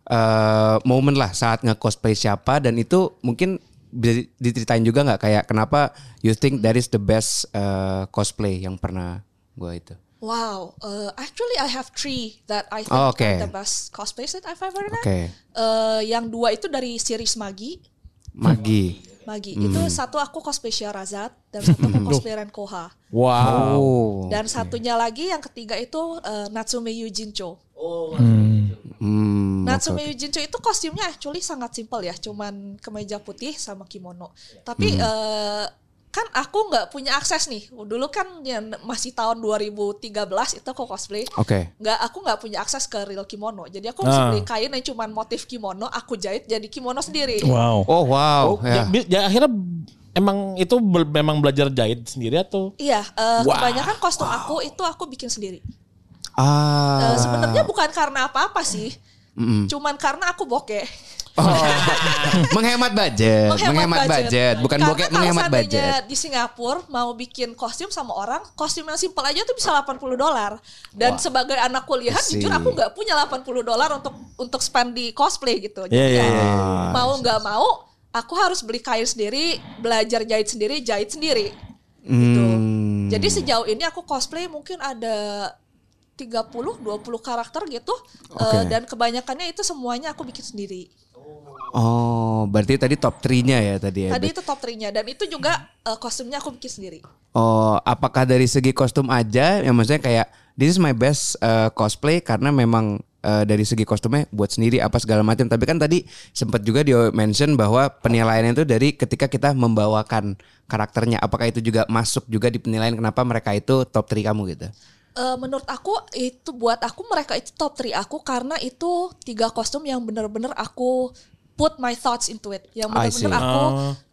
Speaker 3: eh, moment lah saat nge-cosplay siapa dan itu mungkin bisa diceritain juga nggak kayak kenapa you think that is the best uh, cosplay yang pernah gua itu?
Speaker 5: Wow, uh, actually I have three that I think
Speaker 3: Oh, okay.
Speaker 5: are the best cosplays that I've ever done.
Speaker 3: Okay.
Speaker 5: Uh, yang dua itu dari series Magi.
Speaker 3: Magi.
Speaker 5: Magi itu satu aku cosplay Syarazad dan satu aku cosplay Renkoha.
Speaker 2: Wow.
Speaker 3: Oh.
Speaker 5: Dan satunya lagi yang ketiga itu uh, Natsume Yujincho.
Speaker 3: Hmm.
Speaker 5: Natsume Yujincho itu kostumnya actually sangat simpel ya, cuman kemeja putih sama kimono. Tapi eh, kan aku nggak punya akses nih. Dulu kan ya, masih tahun 2013 itu aku cosplay.
Speaker 3: Oke.
Speaker 5: Nggak, aku nggak punya akses ke real kimono. Jadi aku mesti
Speaker 2: Ah.
Speaker 5: beli kain yang cuman motif kimono, aku jahit jadi kimono sendiri.
Speaker 1: Wow.
Speaker 3: Oh wow.
Speaker 2: Ya,
Speaker 3: ya.
Speaker 2: bi- ya, akhirnya emang itu bel- memang belajar jahit sendiri atau
Speaker 5: Iya, eh, kebanyakan kostum aku itu aku bikin sendiri. Eh,
Speaker 3: Ah.
Speaker 5: Sebenarnya bukan karena apa-apa sih, cuman karena aku bokeh.
Speaker 3: Oh. menghemat budget, Eh, menghemat, budget. bukan
Speaker 5: Karena
Speaker 3: bokeh
Speaker 5: kalau
Speaker 3: menghemat
Speaker 5: seandainya gitu.
Speaker 3: budget.
Speaker 5: Di Singapura mau bikin kostum sama orang, kostum yang simpel aja tuh bisa 80 dolar. Dan sebagai anak kuliah,
Speaker 3: I see.
Speaker 5: jujur aku nggak punya 80 dolar untuk untuk spend di cosplay gitu. Jadi
Speaker 2: Iya, iya,
Speaker 5: ya,
Speaker 2: iya,
Speaker 5: mau nggak mau, aku harus beli kain sendiri, belajar jahit sendiri, jahit sendiri. Gitu.
Speaker 3: Hmm.
Speaker 5: Jadi sejauh ini aku cosplay mungkin ada 30 20 karakter gitu Eh,
Speaker 3: Oke.
Speaker 5: dan kebanyakannya itu semuanya aku bikin sendiri.
Speaker 3: Oh, berarti tadi top 3-nya ya tadi ya.
Speaker 5: Tadi itu top 3-nya dan itu juga eh, kostumnya aku bikin sendiri.
Speaker 3: Oh, apakah dari segi kostum aja? Ya maksudnya kayak this is my best uh, cosplay karena memang uh, dari segi kostumnya buat sendiri apa segala macam. Tapi kan tadi sempat juga dia mention bahwa penilaiannya itu dari ketika kita membawakan karakternya. Apakah itu juga masuk juga di penilaian kenapa mereka itu top 3 kamu gitu?
Speaker 5: Eh, menurut aku itu buat aku mereka itu top 3 aku karena itu tiga kostum yang bener-bener aku put my thoughts into it. Yang
Speaker 3: I see. Hmm.
Speaker 5: bener-bener aku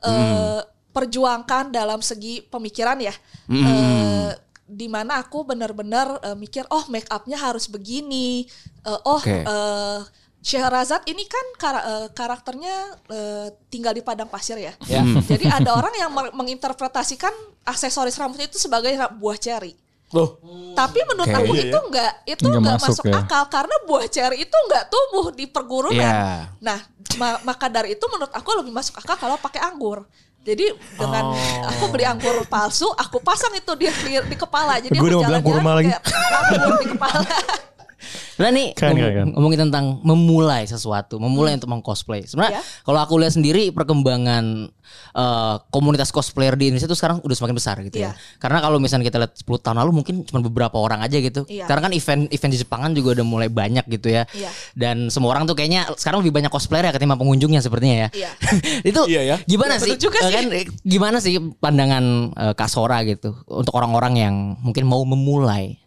Speaker 5: eh, perjuangkan dalam segi pemikiran ya.
Speaker 3: Hmm.
Speaker 5: Eh, di mana aku bener-bener eh, mikir oh make upnya harus begini. Eh, oh
Speaker 3: Oke.
Speaker 5: eh, Syahrazad ini kan kara- eh, karakternya eh, tinggal di padang pasir ya. Jadi ada orang yang mer- menginterpretasikan aksesoris rambutnya itu sebagai ra- buah ceri.
Speaker 2: loh
Speaker 5: Tapi menurut
Speaker 3: Oke.
Speaker 5: aku
Speaker 2: Iya,
Speaker 5: itu enggak itu
Speaker 1: Nggak
Speaker 5: enggak,
Speaker 1: masuk
Speaker 5: masuk,
Speaker 1: ya.
Speaker 5: akal karena buah ceri itu enggak tumbuh di perguruan.
Speaker 3: Iya.
Speaker 5: Nah, ma- maka dari itu menurut aku lebih masuk akal kalau pakai anggur. Jadi dengan
Speaker 1: Oh.
Speaker 5: aku beli anggur palsu, aku pasang itu di di, di kepala. Jadi
Speaker 1: Gua
Speaker 5: aku
Speaker 1: udah mau bilang kurma
Speaker 5: jalan-jalan
Speaker 1: lagi.
Speaker 5: kayak anggur di kepala.
Speaker 4: Nah nih
Speaker 1: Keren,
Speaker 5: Kan,
Speaker 4: ngom-
Speaker 1: keren, keren.
Speaker 4: ngomongin tentang memulai sesuatu, memulai untuk mengcosplay. Sebenarnya
Speaker 5: Hmm. Iya.
Speaker 4: kalau aku lihat sendiri perkembangan eh, komunitas cosplayer di Indonesia itu sekarang udah semakin besar gitu ya.
Speaker 5: Iya.
Speaker 4: Karena kalau misalnya kita lihat 10 tahun lalu mungkin cuma beberapa orang aja gitu.
Speaker 5: Iya.
Speaker 4: Sekarang kan event event di Jepangan juga udah mulai banyak gitu ya.
Speaker 5: Iya.
Speaker 4: Dan semua orang tuh kayaknya sekarang lebih banyak cosplayer ya ketimbang pengunjungnya sepertinya ya.
Speaker 5: Iya.
Speaker 4: itu
Speaker 2: Iya ya.
Speaker 4: gimana
Speaker 5: Iya,
Speaker 4: sih?
Speaker 5: betul juga
Speaker 4: Eh,
Speaker 5: sih.
Speaker 4: kan, eh, gimana sih pandangan eh, Kak Sora gitu untuk orang-orang yang mungkin mau memulai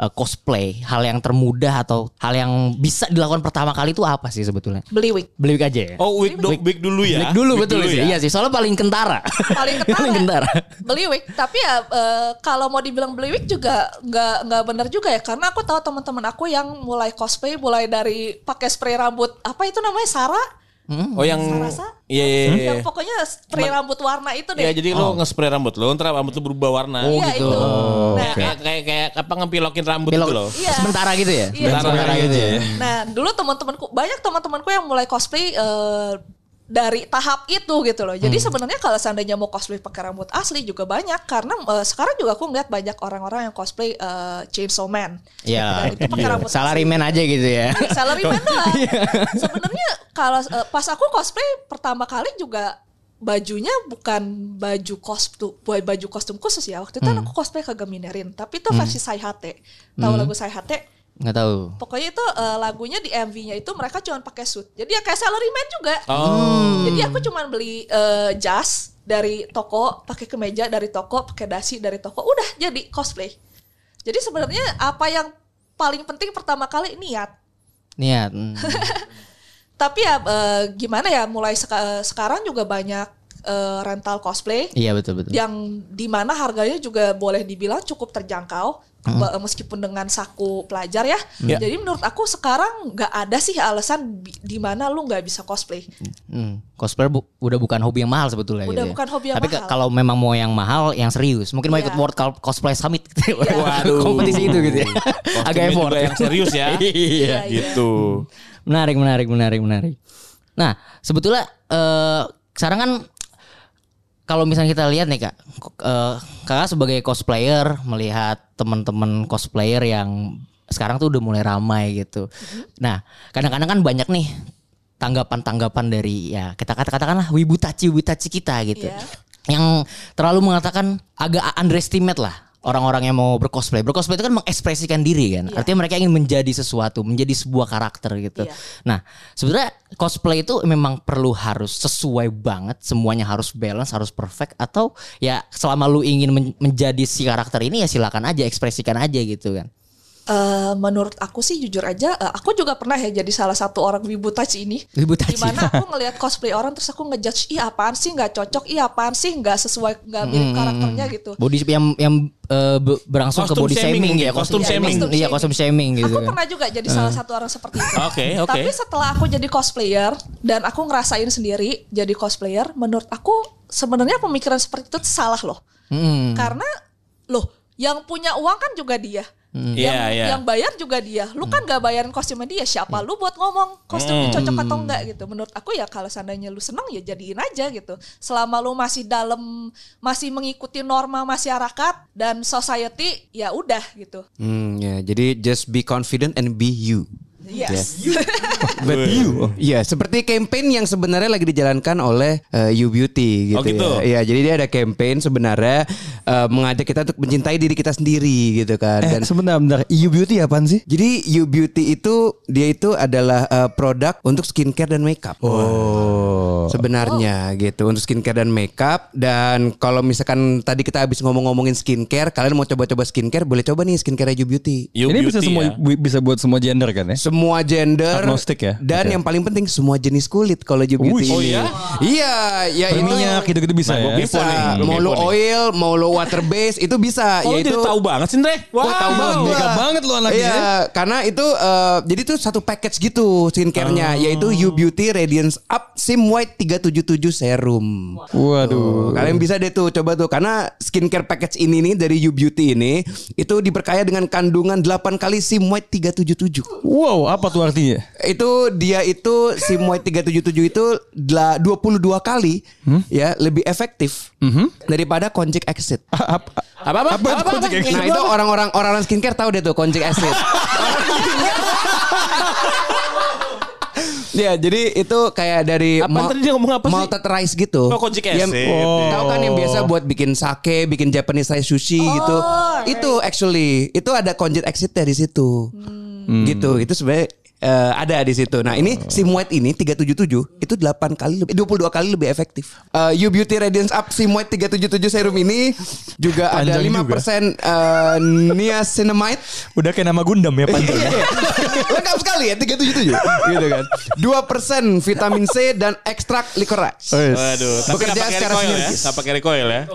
Speaker 4: eh, cosplay, hal yang termudah atau hal yang bisa dilakukan pertama kali itu apa sih sebetulnya?
Speaker 5: Beli wig.
Speaker 4: Beli wig aja ya.
Speaker 2: oh week do- week dulu ya
Speaker 4: Beli dulu
Speaker 2: Week
Speaker 4: betul sih.
Speaker 2: ya.
Speaker 4: Iya sih, soalnya paling kentara.
Speaker 5: Paling
Speaker 4: paling
Speaker 5: ketara.
Speaker 4: kentara.
Speaker 5: beli wig tapi ya eh, kalau mau dibilang beli wig juga nggak nggak benar juga ya karena aku tahu teman-teman aku yang mulai cosplay mulai dari pakai spray rambut apa itu namanya Sara
Speaker 2: oh yang
Speaker 5: Sarasa?
Speaker 2: iya iya iya.
Speaker 5: yang pokoknya spray rambut warna itu deh
Speaker 2: Iya, jadi lo nge-spray rambut lo ntar rambut lo berubah warna
Speaker 4: Oh,
Speaker 5: Iya,
Speaker 4: gitu.
Speaker 5: itu. nah,
Speaker 2: kayak kayak kayak apa ngepilokin rambut
Speaker 4: Belok
Speaker 2: gitu loh
Speaker 5: Iya.
Speaker 4: sementara gitu ya.
Speaker 5: Iya.
Speaker 4: Dan Sementara
Speaker 2: Sementara
Speaker 4: gitu
Speaker 2: aja
Speaker 4: ya.
Speaker 2: ya.
Speaker 5: nah dulu teman-temanku banyak teman-temanku yang mulai cosplay eh, dari tahap itu gitu loh.
Speaker 2: Hmm.
Speaker 5: Jadi sebenarnya kalau seandainya mau cosplay pakai rambut asli juga banyak karena eh, sekarang juga aku ngeliat banyak orang-orang yang cosplay eh, Chainsaw Man.
Speaker 4: Iya.
Speaker 5: Dan itu pakai rambut asli.
Speaker 4: Salaryman aja gitu ya.
Speaker 5: Iya, salaryman doang. Sebenarnya kalau eh, pas aku cosplay pertama kali juga bajunya bukan baju kostum baju kostum khusus ya. Waktu itu kan aku cosplay ke Gaminerin, tapi itu versi Saihate. Tahu lagu Saihate?
Speaker 4: Enggak tahu.
Speaker 5: Pokoknya itu eh, lagunya di MV-nya itu mereka cuma pakai suit. Jadi ya kayak salaryman juga. Jadi aku cuma beli eh, jas dari toko, pakai kemeja dari toko, pakai dasi dari toko, udah jadi cosplay. Jadi sebenarnya apa yang paling penting pertama kali niat.
Speaker 4: Niat. Hmm.
Speaker 5: Tapi ya eh, gimana ya mulai seka- sekarang juga banyak eh, rental cosplay
Speaker 4: Iya betul betul.
Speaker 5: yang dimana harganya juga boleh dibilang cukup terjangkau ba- meskipun dengan saku pelajar ya. Jadi menurut aku sekarang nggak ada sih alasan bi- di mana lu nggak bisa cosplay.
Speaker 4: Hmm, cosplay bu- udah bukan hobi yang mahal sebetulnya gitu
Speaker 5: Udah
Speaker 4: ya.
Speaker 5: bukan hobi yang
Speaker 4: Tapi ke-
Speaker 5: mahal.
Speaker 4: kalau memang mau yang mahal, yang serius, mungkin mau
Speaker 5: Iya.
Speaker 4: ikut World Co- Cosplay Summit gitu. ya.
Speaker 2: Waduh.
Speaker 4: Kompetisi itu gitu ya.
Speaker 2: Kostumnya
Speaker 4: Agak effort.
Speaker 2: juga yang serius ya
Speaker 4: iya.
Speaker 5: Iya, iya.
Speaker 2: gitu
Speaker 4: Menarik, menarik, menarik, menarik. Nah, sebetulnya eh sekarang kan kalau misalnya kita lihat nih kak, k- eh, kakak sebagai cosplayer melihat teman-teman cosplayer yang sekarang tuh udah mulai ramai gitu.
Speaker 5: Mm-hmm.
Speaker 4: Nah, kadang-kadang kan banyak nih tanggapan-tanggapan dari ya kita kata katakanlah wibu taci wibu taci kita gitu,
Speaker 5: Iya.
Speaker 4: yang terlalu mengatakan agak underestimate lah orang-orang yang mau bercosplay. Bercosplay itu kan mengekspresikan diri kan. Artinya mereka ingin menjadi sesuatu, menjadi sebuah karakter gitu.
Speaker 5: Iya.
Speaker 4: Nah, sebenarnya cosplay itu memang perlu harus sesuai banget, semuanya harus balance, harus perfect atau ya selama lu ingin men- menjadi si karakter ini ya silakan aja ekspresikan aja gitu kan.
Speaker 5: Eh, menurut aku sih jujur aja, eh, aku juga pernah ya jadi salah satu orang wibu touch ini.
Speaker 4: Wibu touch.
Speaker 5: Dimana aku ngelihat cosplay orang terus aku ngejudge, ih apaan sih nggak cocok, ih apaan sih nggak sesuai, nggak mirip karakternya gitu.
Speaker 4: Body yang yang eh, be- berangsung ke
Speaker 2: Kostum
Speaker 4: body
Speaker 2: shaming
Speaker 4: shaming,
Speaker 2: mungkin,
Speaker 4: ya,
Speaker 2: kostum shaming.
Speaker 4: Iya, kostum shaming gitu.
Speaker 5: Aku
Speaker 4: kan.
Speaker 5: pernah juga jadi salah satu orang seperti itu.
Speaker 2: Oke, oke.
Speaker 5: Tapi setelah aku jadi cosplayer dan aku ngerasain sendiri jadi cosplayer, menurut aku sebenarnya pemikiran seperti itu salah loh.
Speaker 4: Mm-mm.
Speaker 5: Karena loh, yang punya uang kan juga dia.
Speaker 4: Hmm.
Speaker 5: Yang,
Speaker 2: Iya, iya.
Speaker 5: yang bayar juga dia. Lu kan gak bayarin kostumnya dia.
Speaker 4: Hmm.
Speaker 5: Siapa lu buat ngomong kostumnya
Speaker 2: Hmm.
Speaker 5: cocok atau enggak gitu. Menurut aku ya kalau seandainya lu seneng ya jadiin aja gitu. Selama lu masih dalam masih mengikuti norma masyarakat dan society ya udah gitu.
Speaker 3: Hmm, ya. Jadi just be confident and be you.
Speaker 5: Yes.
Speaker 3: But you. Iya, seperti campaign yang sebenarnya lagi dijalankan oleh eh, You Beauty gitu.
Speaker 2: Oh, gitu.
Speaker 3: Ya. Iya, jadi dia ada campaign sebenarnya eh, mengajak kita untuk mencintai diri kita sendiri gitu kan.
Speaker 1: Eh,
Speaker 3: Dan
Speaker 1: sebentar, bentar. EU Beauty apaan sih?
Speaker 3: Jadi You Beauty itu dia itu adalah eh, produk untuk skincare dan makeup. Oh. Sebenarnya gitu untuk skincare dan makeup dan kalau misalkan tadi kita habis ngomong-ngomongin skincare, kalian mau coba-coba skincare boleh coba nih skincare You Beauty.
Speaker 2: You
Speaker 1: Ini bisa
Speaker 2: beauty
Speaker 1: semua
Speaker 2: ya.
Speaker 1: bu- bisa buat semua gender kan ya?
Speaker 3: Semua gender
Speaker 1: Agnostik ya?
Speaker 3: Dan
Speaker 1: Oke.
Speaker 3: yang paling penting semua jenis kulit kalau You Beauty.
Speaker 1: Wih.
Speaker 2: Oh,
Speaker 3: ini.
Speaker 2: iya?
Speaker 3: Iya, ya
Speaker 1: Berminyak
Speaker 3: itu
Speaker 1: gitu-gitu bisa
Speaker 2: Nah, gua
Speaker 1: ya.
Speaker 2: bisa.
Speaker 3: bisa.
Speaker 2: Nih,
Speaker 3: Mau lo
Speaker 2: kepo nih.
Speaker 3: oil, mau lo water base itu bisa
Speaker 2: Oh,
Speaker 3: yaitu
Speaker 2: itu tahu ya? banget sih, Ndre. Wah,
Speaker 3: Wah, tahu banget.
Speaker 1: mega
Speaker 3: gua.
Speaker 1: banget lu anaknya.
Speaker 3: Iya, karena itu eh, jadi tuh satu package gitu skincare-nya
Speaker 2: Oh.
Speaker 3: yaitu You Beauty Radiance Up Sim White 377 Serum.
Speaker 1: Waduh.
Speaker 3: Tuh, kalian bisa deh tuh coba tuh karena skincare package ini nih dari You Beauty ini itu diperkaya dengan kandungan 8 kali Sim White 377.
Speaker 1: Wow, apa tuh artinya?
Speaker 3: Itu dia itu Sim White 377 itu dla- 22 kali
Speaker 2: Hmm?
Speaker 3: ya lebih efektif daripada Konjek Exit.
Speaker 2: Apa Mm-hmm. Ah, apa?
Speaker 3: Apa itu konjek acid? Nah itu orang-orang orang skincare tahu deh tuh konjek acid. Ya jadi itu kayak dari
Speaker 2: Apaan tadi dia ngomong apa sih?
Speaker 3: malted rice gitu.
Speaker 2: Oh, konjek
Speaker 3: Yang-
Speaker 2: acid.
Speaker 3: Tahu kan yang biasa buat bikin sake, bikin Japanese rice sushi gitu. Itu actually itu ada konjek acid dari situ. Gitu. Itu sebenarnya eh, ada di situ. Nah, ini Sim White ini 377 itu 8 kali lebih 22 kali lebih efektif. Eh, you Beauty Radiance Up Sim White 377 serum ini juga ada
Speaker 1: Panjang
Speaker 3: 5% eh, niacinamide
Speaker 1: Udah kayak nama Gundam ya panjang.
Speaker 3: Lengkap sekali ya 377 gitu kan. 2% vitamin C dan ekstrak liquorice.
Speaker 2: Waduh, tapi
Speaker 3: Bekerja
Speaker 2: nggak pakai
Speaker 3: secara
Speaker 2: recoil ya.
Speaker 3: sinergis.
Speaker 2: Nggak pakai recoil ya.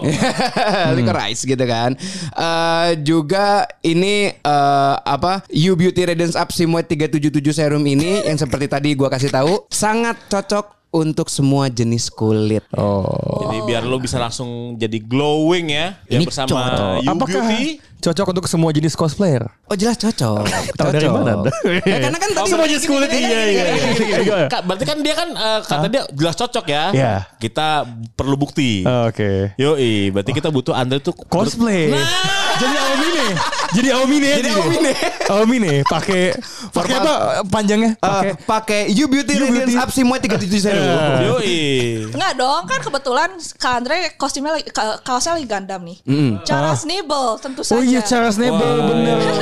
Speaker 1: Hmm.
Speaker 3: Licorice gitu kan. Eh juga ini eh, apa You Beauty Radiance Up Simoid 377 Serum ini yang seperti tadi gua kasih tahu sangat cocok untuk semua jenis kulit.
Speaker 1: Oh.
Speaker 2: Jadi biar lu bisa langsung jadi glowing ya. Ya
Speaker 3: Oh. Ini
Speaker 2: bersama
Speaker 3: cocok.
Speaker 2: You
Speaker 1: Apakah
Speaker 2: Beauty.
Speaker 1: cocok untuk semua jenis cosplayer?
Speaker 3: Oh jelas cocok.
Speaker 1: Tahu dari mana Anda?
Speaker 3: Ya, karena kan tadi
Speaker 1: semua jenis kulit iya iya. iya.
Speaker 2: Kak, berarti kan dia kan eh, kata dia jelas cocok ya.
Speaker 1: Iya.
Speaker 2: Kita perlu bukti.
Speaker 3: Eh.
Speaker 1: Oke.
Speaker 2: Yoi, berarti kita butuh Andre tuh
Speaker 1: Cosplay. Jadi Aomine. Nah. Jadi Aomine. ya?
Speaker 3: Jadi Aomine.
Speaker 1: Aomine pakai Ah. pakai apa panjangnya?
Speaker 3: Eh,
Speaker 1: Pakai
Speaker 3: pakai You Beauty
Speaker 1: You
Speaker 3: Radiance
Speaker 1: Beauty. Iya.
Speaker 3: Up Simoid 377 Serum.
Speaker 2: Yoi.
Speaker 5: Enggak dong, kan kebetulan Kak Andre kostumnya lagi, ka- kaosnya lagi gandam nih.
Speaker 3: Ah.
Speaker 5: Charles Nibel tentu saja.
Speaker 1: Oh iya Charles Nebel
Speaker 2: Wah,
Speaker 1: bener.
Speaker 2: iya.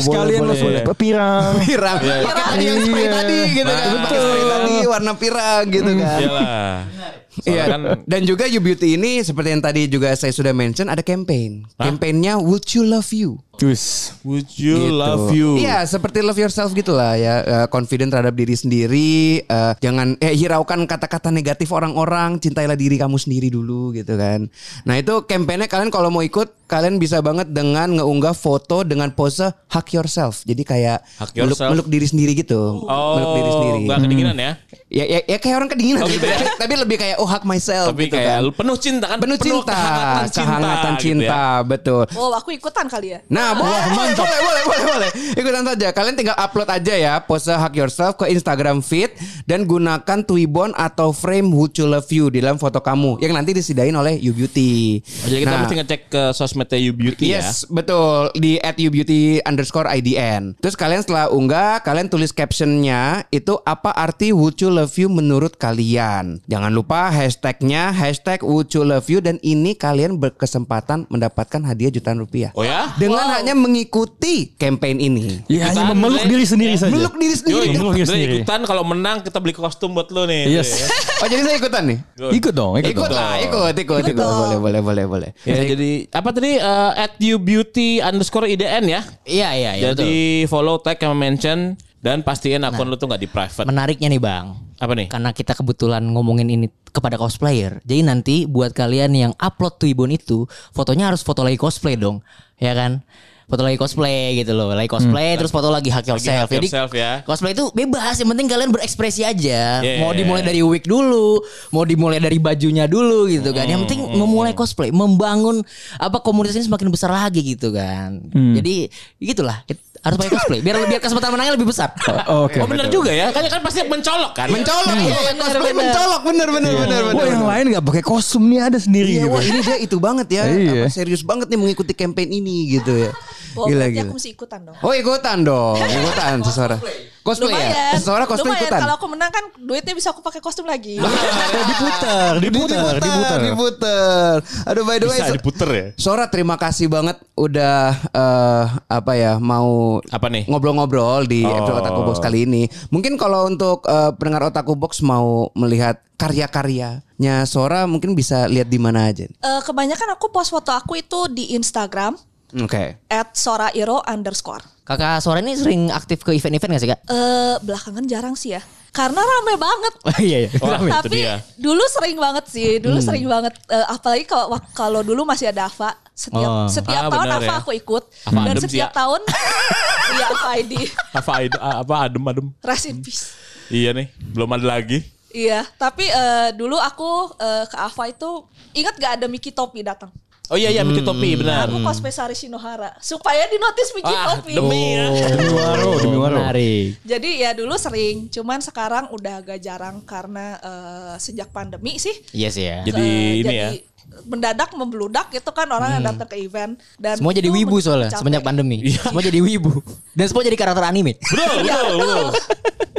Speaker 1: Sekalian lo
Speaker 2: boleh,
Speaker 1: boleh
Speaker 2: boleh.
Speaker 1: pirang.
Speaker 3: Pirang. Pakai tadi yang spray
Speaker 1: Iya.
Speaker 3: tadi gitu kan.
Speaker 2: Nah,
Speaker 3: Pakai spray tadi warna pirang gitu kan.
Speaker 2: Iyalah.
Speaker 3: Iya.
Speaker 2: Soalnya kan
Speaker 3: Dan juga You Beauty ini seperti yang tadi juga saya sudah mention ada campaign. Campaignnya Would You Love You.
Speaker 1: Cus.
Speaker 2: Would you
Speaker 3: Gitu.
Speaker 2: love you?
Speaker 3: Iya, seperti love yourself gitulah ya. Eh, confident terhadap diri sendiri. eh, jangan eh hiraukan kata-kata negatif orang-orang. Cintailah diri kamu sendiri dulu gitu kan. Nah itu campaignnya kalian kalau mau ikut kalian bisa banget dengan ngeunggah foto dengan pose hug yourself. Jadi kayak
Speaker 2: Hug
Speaker 3: meluk,
Speaker 2: yourself.
Speaker 3: meluk diri sendiri gitu.
Speaker 2: Oh,
Speaker 3: meluk diri sendiri.
Speaker 2: nggak kedinginan ya.
Speaker 3: Ya, ya, ya kayak orang kedinginan
Speaker 2: Oh, gitu ya?
Speaker 3: Tapi- Tapi lebih kayak oh hug myself
Speaker 2: Tapi
Speaker 3: gitu
Speaker 2: kayak
Speaker 3: kan
Speaker 2: lu penuh cinta kan?
Speaker 3: penuh cinta,
Speaker 2: kehangatan
Speaker 3: kehangatan cinta,
Speaker 2: gitu ya.
Speaker 3: betul.
Speaker 5: Wow, aku ikutan kali ya.
Speaker 3: Nah, Nah, boleh,
Speaker 1: mantap.
Speaker 3: boleh, boleh, boleh, boleh. Ikutan saja. Kalian tinggal upload aja ya pose Hack Yourself ke Instagram feed dan gunakan Twibbon atau frame Would You Love You di dalam foto kamu yang nanti disediain oleh You Beauty.
Speaker 2: Jadi kita
Speaker 3: Nah,
Speaker 2: mesti ngecek ke sosmednya You Beauty ya.
Speaker 3: Yes, betul. Di at youbeauty underscore IDN. Terus kalian setelah unggah, kalian tulis captionnya itu apa arti would you love you menurut kalian. Jangan lupa hashtagnya, hashtag would you love you. Dan ini kalian berkesempatan mendapatkan hadiah jutaan rupiah.
Speaker 2: Oh ya?
Speaker 3: Dengan hanya mengikuti campaign ini.
Speaker 1: Ya hanya memeluk
Speaker 2: Andre.
Speaker 1: diri sendiri saja.
Speaker 3: Meluk diri sendiri.
Speaker 2: Yoi,
Speaker 1: Iya, iya,
Speaker 2: Andre
Speaker 1: sendiri.
Speaker 2: ikutan kalau menang kita beli kostum buat lo nih.
Speaker 1: Yes.
Speaker 3: Oh jadi saya ikutan nih?
Speaker 1: ikut dong, ikut,
Speaker 3: Ikut
Speaker 1: dong.
Speaker 3: lah, ikut, ikut, ikut. Boleh, boleh, boleh, boleh.
Speaker 2: Ya, jadi apa tadi eh, at you beauty underscore idn ya.
Speaker 4: Iya iya iya betul.
Speaker 2: jadi follow tag sama mention dan pastiin akun lu tuh nggak di private.
Speaker 4: Menariknya nih Bang.
Speaker 2: Apa nih?
Speaker 4: Karena kita kebetulan ngomongin ini kepada cosplayer. Jadi nanti buat kalian yang upload Twibbon itu, fotonya harus foto lagi cosplay dong. Ya kan? Foto lagi cosplay gitu loh. Lagi cosplay terus foto lagi hack
Speaker 2: Hmm.
Speaker 4: yourself.
Speaker 2: hack yourself ya.
Speaker 4: Cosplay itu bebas, yang penting kalian berekspresi aja.
Speaker 2: Yeah.
Speaker 4: Mau dimulai dari wig dulu, mau dimulai dari bajunya dulu gitu kan. Yang penting memulai cosplay, membangun apa komunitas ini semakin besar lagi gitu kan.
Speaker 2: Hmm.
Speaker 4: Jadi gitulah It- harus pakai cosplay biar biar kesempatan menangnya lebih besar.
Speaker 1: Oh, Oke.
Speaker 2: Oh bener juga ya. Kan kan pasti mencolok kan.
Speaker 3: Mencolok,
Speaker 4: Iya,
Speaker 3: iya,
Speaker 4: bener,
Speaker 3: cosplay
Speaker 4: bener.
Speaker 3: mencolok, bener, bener,
Speaker 2: Iya.
Speaker 3: bener, bener.
Speaker 1: Wah yang
Speaker 3: bener.
Speaker 1: lain nggak pakai kostum nih ada sendiri
Speaker 3: Iya,
Speaker 1: gitu.
Speaker 3: wah ini dia itu banget ya.
Speaker 1: Iya.
Speaker 3: Apa, serius banget nih mengikuti campaign ini gitu ya.
Speaker 5: Boleh,
Speaker 3: Gila
Speaker 5: nanti
Speaker 3: gila.
Speaker 5: Oh, aku mesti ikutan dong.
Speaker 3: Oh ikutan dong, ikutan Sesora. Cosplay ya? Sesora cosplay
Speaker 5: Lumayan,
Speaker 3: ikutan.
Speaker 5: Kalau aku menang kan duitnya bisa aku pakai kostum lagi.
Speaker 1: Oh, diputar, diputar, diputar.
Speaker 3: diputar. Aduh by the way.
Speaker 2: Bisa
Speaker 3: So-
Speaker 2: diputer ya.
Speaker 3: Sora terima kasih banget udah eh, apa ya mau
Speaker 2: Apa nih?
Speaker 3: ngobrol-ngobrol di episode Otaku Box kali ini. Mungkin kalau untuk eh, pendengar Otaku Box mau melihat karya-karyanya Sora mungkin bisa lihat di mana aja.
Speaker 5: Eh, kebanyakan aku post foto aku itu di Instagram
Speaker 3: Oke.
Speaker 5: at sorairo underscore.
Speaker 4: Kakak Sora ini sering aktif ke event-event gak sih kak?
Speaker 5: Eh belakangan jarang sih ya. Karena rame banget.
Speaker 4: iya iya.
Speaker 2: Oh, itu
Speaker 5: Tapi
Speaker 2: dia.
Speaker 5: dulu sering banget sih, dulu sering banget. Eh, apalagi kalau wak- kalau dulu masih ada Ava, setiap
Speaker 1: Oh.
Speaker 5: setiap
Speaker 2: Ah,
Speaker 5: tahun
Speaker 2: benar
Speaker 5: Ava
Speaker 2: ya.
Speaker 5: aku ikut
Speaker 2: Ava
Speaker 5: dan
Speaker 2: adem sih
Speaker 5: setiap
Speaker 2: ya.
Speaker 5: tahun iya Ava ID
Speaker 2: Apa ide- apa adem adem.
Speaker 5: rest in peace.
Speaker 2: Iya nih. Belum ada lagi.
Speaker 5: Iya, tapi eh, dulu aku eh, ke Ava itu ingat gak ada Miki Topi datang.
Speaker 2: Oh iya iya bikin topi benar.
Speaker 5: Aku cosplay Sari Shinohara supaya di notice Miki
Speaker 2: Ah,
Speaker 5: Topi.
Speaker 2: demi ya.
Speaker 1: Demi waro, demi waro.
Speaker 4: Oh, Menarik.
Speaker 5: Jadi ya dulu sering, cuman sekarang udah agak jarang karena eh, sejak pandemi sih.
Speaker 4: Iya sih ya. Hmm.
Speaker 2: Jadi
Speaker 5: Eh,
Speaker 2: ini ya.
Speaker 5: mendadak membludak gitu kan orang yang datang ke event dan
Speaker 4: Semua jadi
Speaker 5: itu
Speaker 4: wibu soalnya
Speaker 5: capek.
Speaker 1: Iya.
Speaker 4: semenjak pandemi. Semua jadi wibu. Dan semua jadi karakter anime.
Speaker 2: Betul, betul, betul.